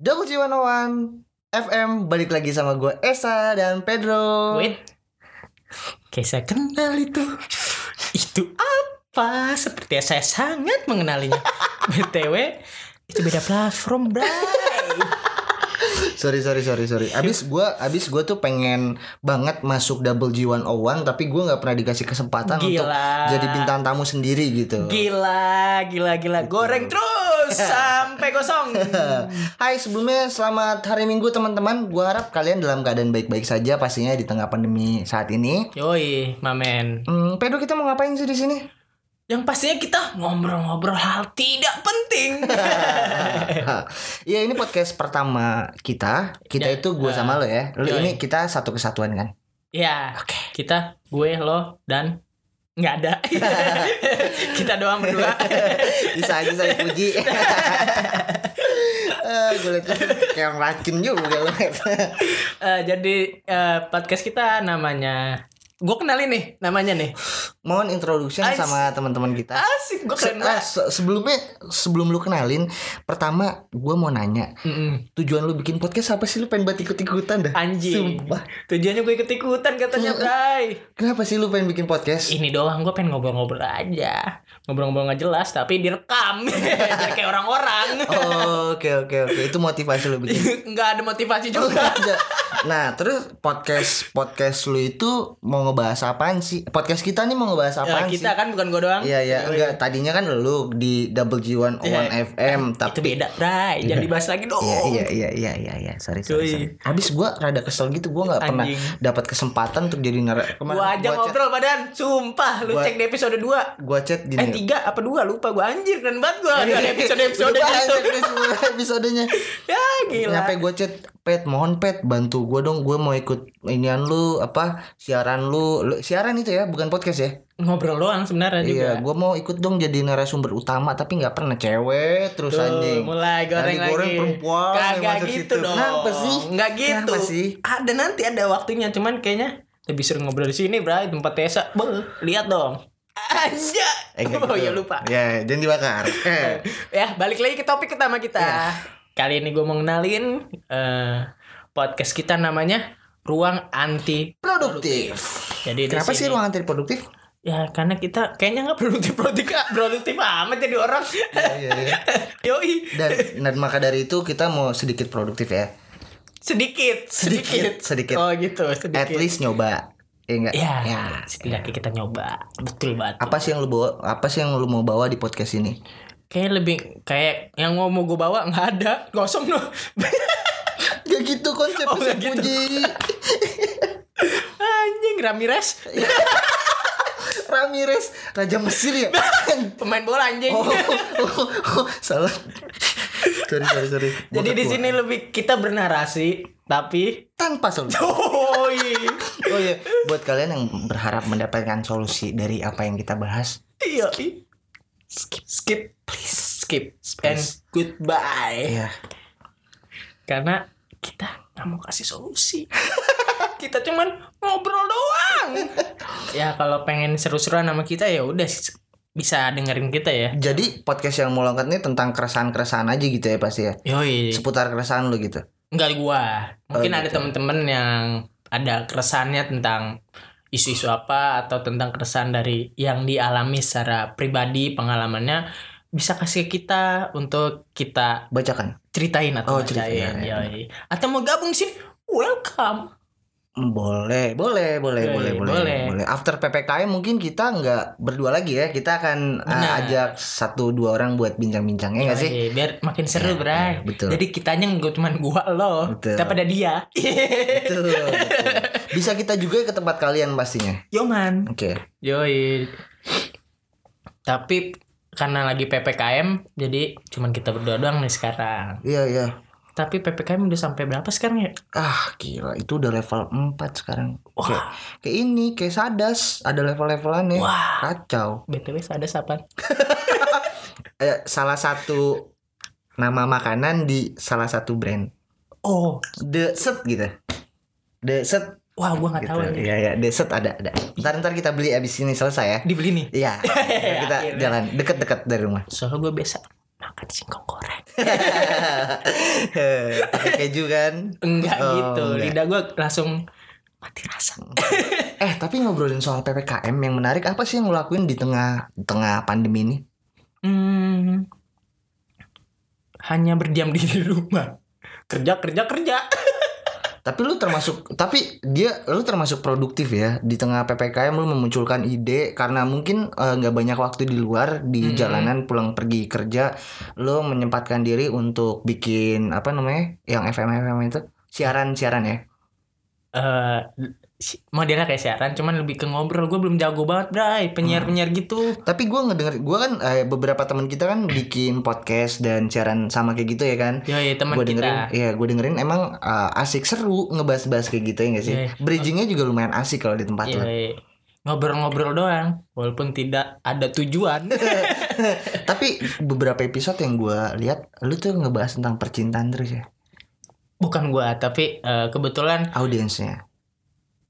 Jogji 101 FM balik lagi sama gue Esa dan Pedro. Wait. Kayak saya kenal itu. Itu apa? Seperti saya sangat mengenalinya. BTW, itu beda platform, bray. Sorry sorry sorry sorry. Abis gue abis gue tuh pengen banget masuk Double G101 tapi gue nggak pernah dikasih kesempatan untuk Gila. jadi bintang tamu sendiri gitu. Gila, gila, gila. Goreng terus sampai gosong. Hai sebelumnya selamat hari Minggu teman-teman. Gue harap kalian dalam keadaan baik-baik saja pastinya di tengah pandemi saat ini. Yoi, mamen. Hmm, Pedro kita mau ngapain sih di sini? Yang pastinya kita ngobrol-ngobrol hal tidak penting. Iya ini podcast pertama kita. Kita Ya, itu gue eh, sama lo ya. Lo yoi. ini kita satu kesatuan kan. ya, Oke. kita, gue, lo, dan nggak ada. kita doang berdua. bisa aja saya puji Eh, gue liat lu kayak orang racun juga lu Eh, jadi eh, podcast kita namanya gue kenalin nih namanya nih mohon introduction Ais. sama teman-teman kita asik gue Se- keren eh, banget se- sebelumnya sebelum lu kenalin pertama gue mau nanya Mm-mm. tujuan lu bikin podcast apa sih lu pengen buat ikut-ikutan dah anjing Sumpah. tujuannya gue ikut ikutan katanya Bray kenapa sih lu pengen bikin podcast ini doang gue pengen ngobrol-ngobrol aja ngobrol-ngobrol nggak jelas tapi direkam Biar kayak orang-orang Oh, oke oke oke itu motivasi lu bikin nggak ada motivasi juga nah terus podcast podcast lu itu mau ngebahas apaan sih podcast kita nih mau ngebahas Ya, apaan sih kita kan bukan gue doang Iya iya enggak tadinya kan lu di Double G101 Iya. FM itu tapi beda Bray jangan dibahas lagi dong Iya iya iya iya iya iya sorry sorry. Cuy. sorry. Abis gua rada kesel gitu gua nggak pernah Anjing. dapat kesempatan untuk jadi nara kemarin Gua aja gua chat, ngobrol badan Sumpah Lu Gua- Iya. cek di episode 2 gua chat gini. Eh tiga apa dua lupa gue anjir keren banget gue Iya. ada episode episode Udah gitu. banyak nih semua episodenya. Ya gila. Nyampe gua chat Pet mohon Pet bantu gua dong gua mau ikut inian lu apa siaran lu, Lu- siaran itu ya bukan podcast ya Ngobrol doang sebenarnya juga. iya gua mau ikut dong jadi narasumber utama tapi nggak pernah cewek terus Tuh, anjing mulai Nanti goreng goreng lagi. perempuan yang Kagak masuk gitu situ. dong. Kenapa sih? Enggak gitu. Kenapa sih? Ada nanti ada waktunya cuman kayaknya lebih sering ngobrol di sini, Bray, tempat Tesa. Beuh, lihat dong. Aja. Eh, nggak oh gitu. ya lupa. Ya, jangan dibakar. Eh. Ya, balik lagi ke topik utama kita. Ya. Kali ini gue mau ngenalin eh, podcast kita namanya Ruang Anti produktif. Jadi di Kenapa sih sini- ruangan tidak produktif? Ya karena kita kayaknya nggak produktif produktif produktif amat jadi orang. Iya, Yoi Dan, dan maka dari itu kita mau sedikit produktif ya. sedikit sedikit sedikit. Oh gitu At sedikit. least nyoba. Ya enggak? Ya, setidaknya kita nyoba betul banget. Apa sih yang lu bawa? Apa sih yang lu mau bawa di podcast ini? Kayak lebih kayak yang mau mau gue bawa nggak ada gosong loh. Gak gitu konsep Oh, nggak Ustaz gitu. Puji. Anjing Ramirez Ramirez, Raja Mesir ya. pemain bola anjing. oh, oh, oh, salah. Sorry, sorry, sorry. Gua jadi di ketua. sini lebih kita bernarasi tapi. tanpa solusi. Yoi. Oh iya, buat kalian yang berharap mendapatkan solusi dari apa yang kita bahas, Iya. Skip, skip, please skip and ya goodbye. karena kita nggak mau kasih solusi kita cuman ngobrol doang ya kalau pengen seru-seruan sama kita ya udah s- bisa dengerin kita ya Jadi podcast yang mau lengkap ini tentang keresahan-keresahan aja gitu ya pasti ya. yoi Seputar keresahan lu gitu. nggak gua mungkin Oh, ada gitu. temen-temen yang ada keresahannya tentang isu-isu apa atau tentang keresahan dari yang dialami secara pribadi pengalamannya bisa kasih ke kita untuk kita Bacakan. ceritain Oh, atau ceritain. bacain yoi atau mau gabung sih welcome Mm, Boleh, boleh, boleh, boleh, Boleh, boleh, boleh. Iya, boleh. After PPKM mungkin kita nggak berdua lagi ya. Kita akan uh, Benar. ajak satu dua orang buat bincang-bincang ya nggak sih? Yoi, biar makin Ya, seru, Bray. ya, betul. Jadi kitanya nggak cuma gua lo, Betul. tapi ada dia. Betul, betul. Bisa kita juga ke tempat kalian pastinya. Yoman. Oke. Yoi. Tapi karena lagi PPKM, jadi cuman kita berdua doang nih sekarang. Iya, iya. Tapi PPKM udah sampai berapa sekarang ya? Ah, gila. Itu udah level 4 sekarang. Wah. Kayak, kayak ini, kayak sadas. Ada level-levelannya. Wah. Kacau. BTW ada sapan? Eh, salah satu nama makanan di salah satu brand. Oh, The set gitu. The set wah gua nggak gitu. tahu nih. Iya ya, the set ada ada. Ntar ntar kita beli abis ini selesai ya. Dibeli nih. Iya. ntar kita Akhirnya. jalan deket-deket dari rumah. Soalnya gua biasa makan makan singkong goreng. Pakai keju kan? Enggak Oh, gitu. enggak. Lidah gue langsung mati rasa. Eh tapi ngobrolin soal ppkm yang menarik apa sih yang lo lakuin di tengah di tengah pandemi ini? Hmm, hanya berdiam diri di rumah. Kerja, kerja, kerja. Tapi lu termasuk tapi dia lu termasuk produktif ya di tengah PPKM lu memunculkan ide karena mungkin eh, nggak banyak waktu di luar di Mm-mm. jalanan pulang pergi kerja lu menyempatkan diri untuk bikin apa namanya yang FM FM itu siaran-siaran ya. Eh, si- modelnya kayak siaran, cuman lebih ke ngobrol. Gue belum jago banget, Bray. Penyiar-penyiar Hmm. gitu. Tapi gua ngedenger gua kan eh, beberapa teman kita kan bikin podcast dan siaran sama kayak gitu ya kan. Ya, ya teman Gue dengerin, kita. iya gue dengerin emang eh, asik seru ngebahas-bahas kayak gitu ya gak sih? Iya. Bridgingnya juga lumayan asik kalau di tempat Iya, lu. iya. Ngobrol-ngobrol doang, walaupun tidak ada tujuan. Tapi beberapa episode yang gue lihat, lu tuh ngebahas tentang percintaan terus ya, Bukan gua, tapi eh, kebetulan audiensnya.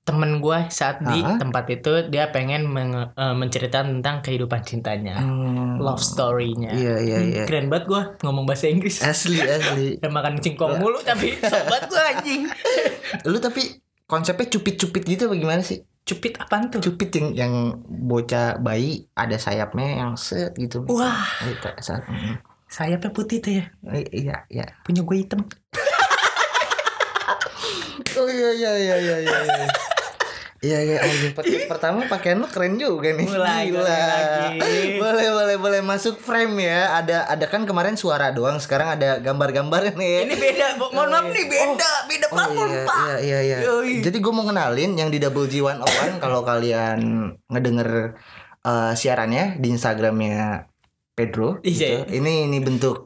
temen gua saat di Ah. tempat itu dia pengen menge- eh, menceritakan tentang kehidupan cintanya, Hmm. love story-nya. Iya iya Hmm, iya. Eh. Keren banget gua ngomong bahasa Inggris. Asli asli. Dan makan singkong mulu tapi sobat gua anjing. Lu tapi konsepnya cupit-cupit gitu apa gimana sih? Cupit apaan tuh? Cupit yang yang bocah bayi ada sayapnya yang set gitu. Wah, Gitu, set. Hmm. sayapnya putih tuh ya. I- Iya iya. Punya gue hitam. Oh iya iya iya iya iya. iya. Iya iya anjing podcast pertama pakaian lu keren juga nih. Mulai, Gila. mulai lagi. Boleh boleh boleh masuk frame ya. Ada ada kan kemarin suara doang, sekarang ada gambar-gambar nih. Ini beda, Bo- mohon maaf nih beda, beda Oh platform, iya, Pak. iya iya iya. Yoi. Jadi gue mau kenalin yang di Double G101 kalau kalian ngedenger eh, siarannya di Instagramnya Pedro. gitu. Iya. Ini ini bentuk.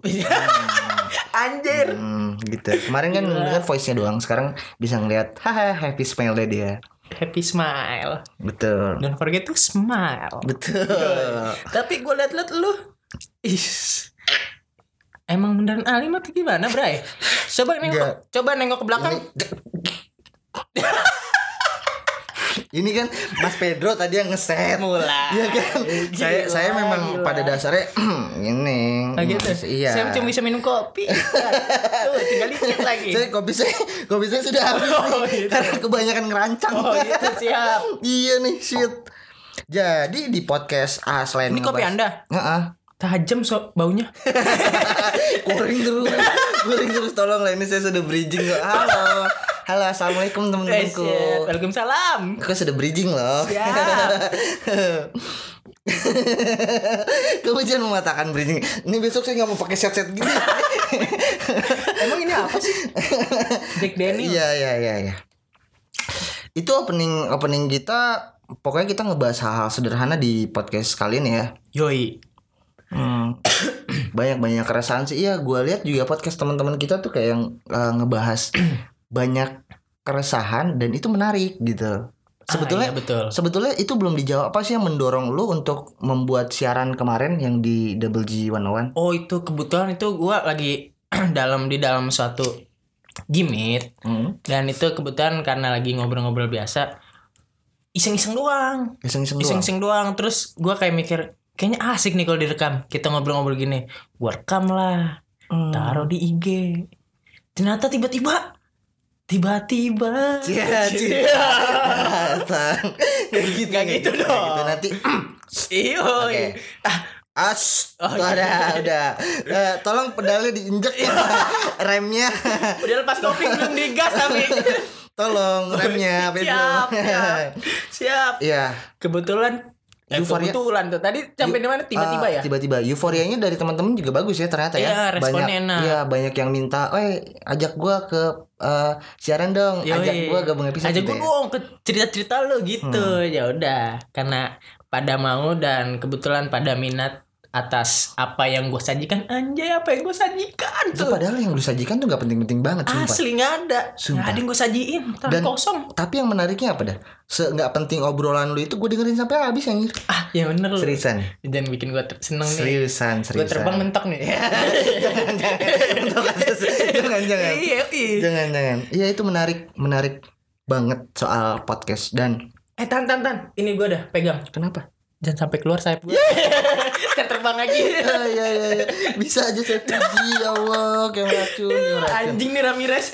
Anjir. Hmm, gitu. Kemarin kan Gila. denger voice-nya doang, sekarang bisa ngeliat haha happy smile-nya dia. Happy smile. Betul. Don't forget to smile. Betul. Tapi gue liat-liat lu Is. Emang beneran alim atau gimana Bray? Coba nengok, Nggak. coba nengok ke belakang Ini, ini kan Mas Pedro tadi yang ngeset. Mulai Iya kan? saya Gila, saya memang gila. pada dasarnya ini. Nah gitu Hmm, Iya. Saya cuma bisa minum kopi Tuh tinggal dikit lagi Saya kopi saya kopi saya sudah habis Oh, nih, gitu. karena kebanyakan ngerancang. Oh gitu siap iya nih shit. Jadi di podcast ah selain Ini kopi ngebahas- anda Heeh. Tajam so baunya Kuring terus, kuring terus tolong lah ini saya sudah bridging loh. Halo. Halo, assalamualaikum Eh, teman-temanku. shit. Waalaikumsalam Aku sudah bridging loh. Siap. Kamu jangan mematakan bridging. Ini besok saya nggak mau pakai set-set gini. Emang ini apa sih? Jack Daniel Iya iya iya iya. Itu opening opening kita pokoknya kita ngebahas hal-hal sederhana di podcast kali ini ya. Yoi banyak banyak keresahan sih. Iya, gua lihat juga podcast teman-teman kita tuh kayak yang eh, ngebahas banyak keresahan dan itu menarik gitu. Sebetulnya Ah, iya, betul sebetulnya itu belum dijawab apa sih yang mendorong lu untuk membuat siaran kemarin yang di Double G 101? Oh itu kebetulan itu gua lagi dalam di dalam suatu gimmick Hmm. dan itu kebetulan karena lagi ngobrol-ngobrol biasa iseng-iseng doang Iseng-iseng doang. iseng-iseng doang terus gua kayak mikir kayaknya asik nih kalau direkam kita ngobrol-ngobrol gini gua rekam lah Hmm. taruh di IG ternyata tiba-tiba tiba-tiba Cia, cia. Datang. Gak gitu, Gak Iya. gitu dong. Gak gitu. Nanti iyo Oke. ah as Oh, tuh ada udah. Eh, tolong pedalnya diinjek ya. remnya. udah lepas topik belum digas tapi tolong remnya Pedro. siap siap siap Iya. kebetulan eh, Euforia- kebetulan tuh tadi sampai di mana tiba-tiba Ah, ya Tiba-tiba euforianya dari teman-teman juga bagus ya ternyata Iya, ya. responnya banyak enak. Iya, banyak yang minta, "Eh, ajak gua ke eh, siaran dong. Ajak Yoi. gua gabung episode." ajak gitu gue ya. Hmm. dong ke cerita-cerita lo gitu ya udah karena pada mau dan kebetulan pada minat atas apa yang gue sajikan anjay apa yang gue sajikan Itu tuh padahal yang lu sajikan tuh gak penting-penting banget sumpah. asli nggak ada Sumpah. nggak ada yang gue sajiin tangan Dan- kosong Tapi yang menariknya apa dah? Se nggak penting obrolan lu itu gue dengerin sampai habis anjir. ah ya bener lo Seriusan. jangan bikin gue seneng nih Seriusan, seriusan. gue terbang mentok nih Iya, jangan, jangan. iya iya. Jangan, jangan. Iya, itu menarik, menarik banget soal podcast dan eh tan tan tan ini gue udah pegang kenapa? Jangan sampai keluar sayap gue. Iya. Terbang lagi. ya, ya, ya, ya. bisa aja saya puji ya Allah kayak racun, kayak racun. Anjing nih Ramirez.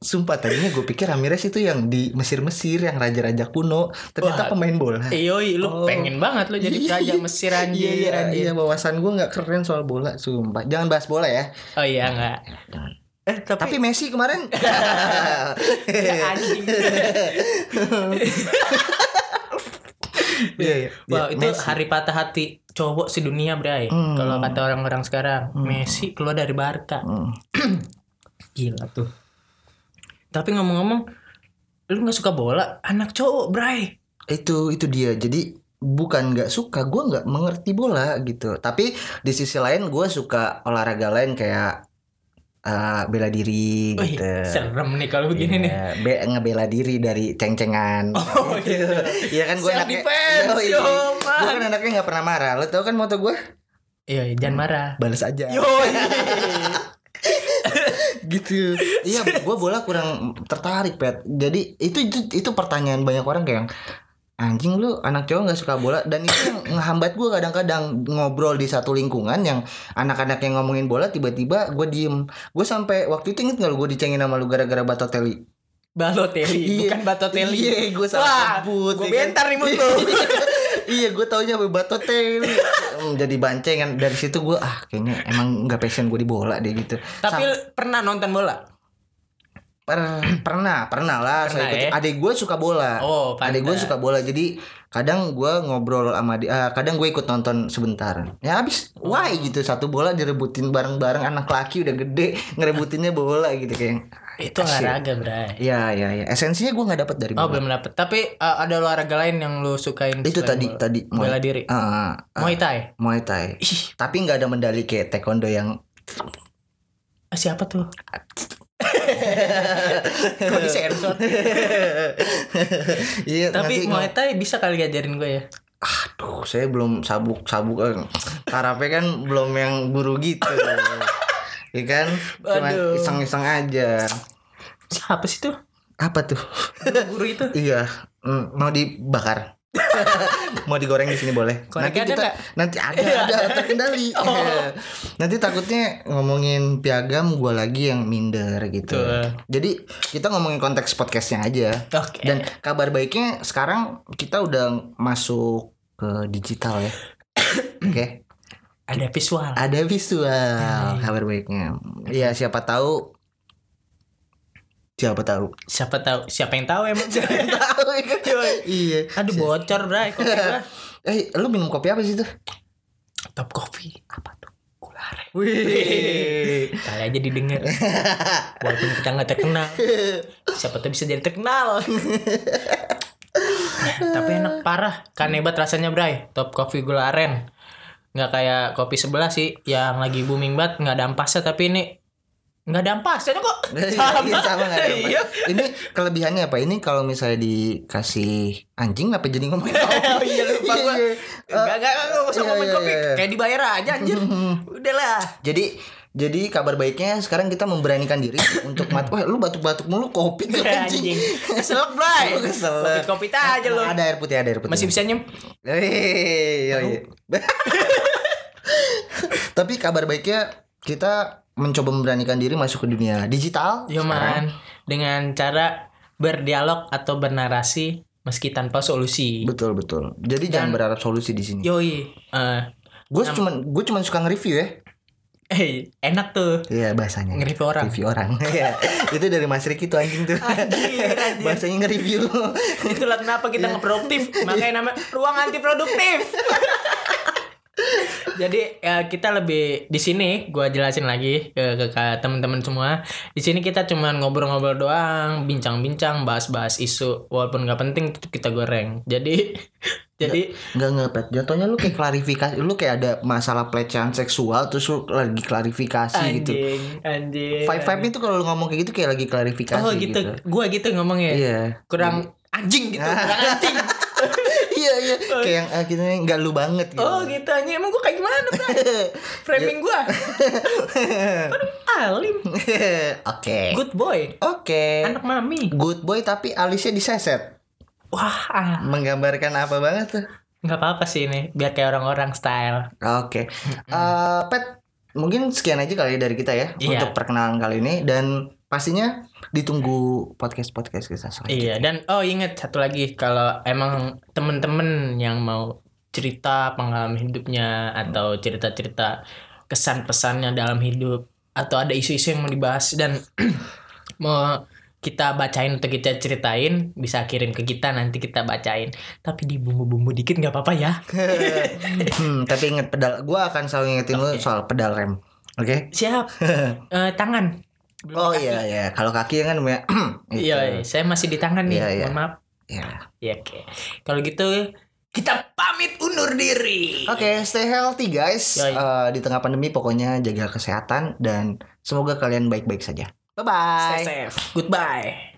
Sumpah tadinya gue pikir Ramirez itu yang di Mesir-Mesir yang raja-raja kuno, ternyata Wah. pemain bola. Yoi, lu Oh. pengen banget lu jadi raja Mesir anjir. Iya, iya, anjir. iya, wawasan gue nggak keren soal bola, sumpah. Jangan bahas bola ya. Oh iya enggak. Eh Tapi tapi, Messi kemarin Ya, anjing. Iya, iya. Wah, Iya, itu Messi. hari patah hati cowok sedunia, Bray. Hmm. Kalau kata orang-orang sekarang, Messi keluar dari Barca. Hmm. Gila tuh. Tapi ngomong-ngomong, lu nggak suka bola? Anak cowok, Bray. itu itu dia jadi bukan nggak suka gue nggak mengerti bola gitu tapi di sisi lain gue suka olahraga lain kayak eh, bela diri Wih, gitu serem nih kalau Oh iya, begini nih. Iya, be- ngebela diri dari ceng-cengan Oh, gitu. Iya kan gue Self anaknya defense, yo, man. Gue kan anaknya gak pernah marah Lo tau kan moto gue Iya, iya, jangan marah. Balas aja Yoi. gitu iya gue bola kurang tertarik pet jadi itu itu itu pertanyaan banyak orang kayak anjing lu anak cowok nggak suka bola dan itu yang ngehambat gue kadang-kadang ngobrol di satu lingkungan yang anak-anak yang ngomongin bola tiba-tiba gue diem gue sampai waktu itu inget nggak lu gue dicengin sama lu gara-gara batoteli Balotelli, Iya. bukan Batotelli. Iya, gua salah sebut, Gue ya kan? bentar nih mulut lu. iya gue taunya apa batoteli Hmm, jadi bancengan dari situ gue ah kayaknya emang nggak passion gue di bola deh gitu Tapi lu pernah nonton bola? Per- pernah pernah lah Pernah, saya ikut. ya? Adek gue suka bola Oh, pantas. Adek gue suka bola jadi kadang gue ngobrol sama dia eh, kadang gue ikut nonton sebentar ya habis why gitu satu bola direbutin bareng-bareng anak laki udah gede ngerebutinnya bola gitu kayak Itu olahraga, Bray. ya ya ya esensinya gue nggak dapet dari Oh, bola belum dapet. Tapi eh, ada olahraga lain yang lu sukain itu selain tadi bola? tadi Muay- Bela diri. Ah, ah, ah. Muay Thai. Muay Thai Ih, tapi nggak ada medali kayak taekwondo yang Ah, siapa tuh? Eh, Kok di sensor? ya? iya Tapi nanti Muay Thai bisa kali ngajarin gue ya? Aduh, saya belum sabuk-sabuk. eh, Tarape kan belum yang guru gitu. Iya kan? Cuman Aduh. iseng-iseng aja. Siapa sih tuh? Apa tuh? Guru itu. iya, mm, mau dibakar. mau digoreng di sini boleh. Korek nanti ada kita nanti ada nggak? Iya. Oh. ada terkendali. nanti takutnya ngomongin piagam gua lagi yang minder gitu. Betul. Jadi kita ngomongin konteks podcastnya aja. Oke. Dan kabar baiknya sekarang kita udah masuk ke digital ya. Oke, Ada visual. ada visual kabar baiknya. Iya, siapa tahu siapa tahu. Siapa tahu? Siapa yang tahu emang? tahu ya kan? Iya. Aduh bocor, Bray. Kopi gue. Eh, lu minum kopi apa sih tuh? Top kopi. Apa tuh? Kulare. Wih. Kali aja didengar. Walaupun kita nggak terkenal. Siapa tuh bisa jadi terkenal. Nah, Tapi enak parah. Kan hebat rasanya, Bray. Top kopi gula aren. Nggak kayak kopi sebelah sih yang lagi booming banget, nggak ada ampasnya tapi ini nggak ada ampasnya kok. Iya, sama nggak ada apa. Iya. Ini kelebihannya apa? Ini kalau misalnya dikasih anjing apa jadi ngomong? Oh iya lupa gua. Iya, iya. Enggak enggak enggak usah iya, ngomongin iya, kopi. iya, iya. Kayak dibayar aja anjir. Udahlah. Jadi jadi kabar baiknya sekarang kita memberanikan diri untuk mat. Wah, lu batuk-batuk mulu kopi tuh Iya, Iya, Anjing. anjing. Keselak, Bray. Lu keselak. Kopi-kopi aja lu. Ada air putih, ada air putih. Iya, Masih bisa nyem. Hei, yo, yo. Tapi kabar baiknya kita mencoba memberanikan diri masuk ke dunia digital. Yo sekarang. Iya, man, dengan cara berdialog atau bernarasi meski tanpa solusi. Betul betul. Jadi jangan berharap solusi di sini. Yoi, eh, Gue cuman gue cuman suka nge-review ya. eh, enak tuh Iya bahasanya. nge-review orang. Ah, Review orang. Iya. itu dari Mas Riki tuh anjing tuh. Anjir, anjir. bahasanya nge-review. Itulah kenapa kita Iya. nggak produktif, makanya nama ruang anti produktif. Jadi ya, kita lebih di sini, gua jelasin lagi ke, ke, ke teman-teman semua. Di sini kita cuman ngobrol-ngobrol doang, bincang-bincang, bahas-bahas isu, walaupun nggak penting tetap kita goreng. Jadi, jadi Enggak enggak Pat. Jatuhnya lu kayak klarifikasi, lu kayak ada masalah pelecehan seksual terus lu lagi klarifikasi gitu. anjing, anjing. Five Five itu kalau lu ngomong kayak gitu kayak lagi klarifikasi Oh gitu, gua gitu ngomongnya. Iya. Kurang anjing gitu, kurang anjing. iya iya kayak yang eh, gitu enggak lu banget gitu. Oh gitu anjing, emang gua kayak gimana, Iya. Bray? Framing gua. Aduh, Alim, Oke. good boy, Oke. anak mami. Good boy tapi alisnya diseset. Wah, ah, menggambarkan apa banget tuh nggak apa-apa sih ini. Biar kayak orang-orang style. Oke. Eh, Pet, mungkin sekian aja kali dari kita ya Iya. untuk perkenalan kali ini dan pastinya ditunggu podcast-podcast kita selanjutnya. Iya, dan oh ingat satu lagi kalau emang temen-temen yang mau cerita pengalaman hidupnya atau cerita-cerita kesan pesannya dalam hidup atau ada isu-isu yang mau dibahas dan mau kita bacain atau kita ceritain bisa kirim ke kita nanti kita bacain tapi di bumbu-bumbu dikit nggak apa-apa ya hmm, tapi ingat pedal, gua akan selalu ingetin lu soal pedal rem. Oke? siap Eh, tangan Belum Oh kaki. iya iya, kalau kaki kan ya. gitu. iya iya. saya masih di tangan nih Iya, iya. mohon maaf Iya. ya oke kalau gitu kita pamit undur diri Oke, stay healthy guys. Yoi. Eh, di tengah pandemi pokoknya jaga kesehatan dan semoga kalian baik-baik saja. Bye Stay bye. safe. Goodbye.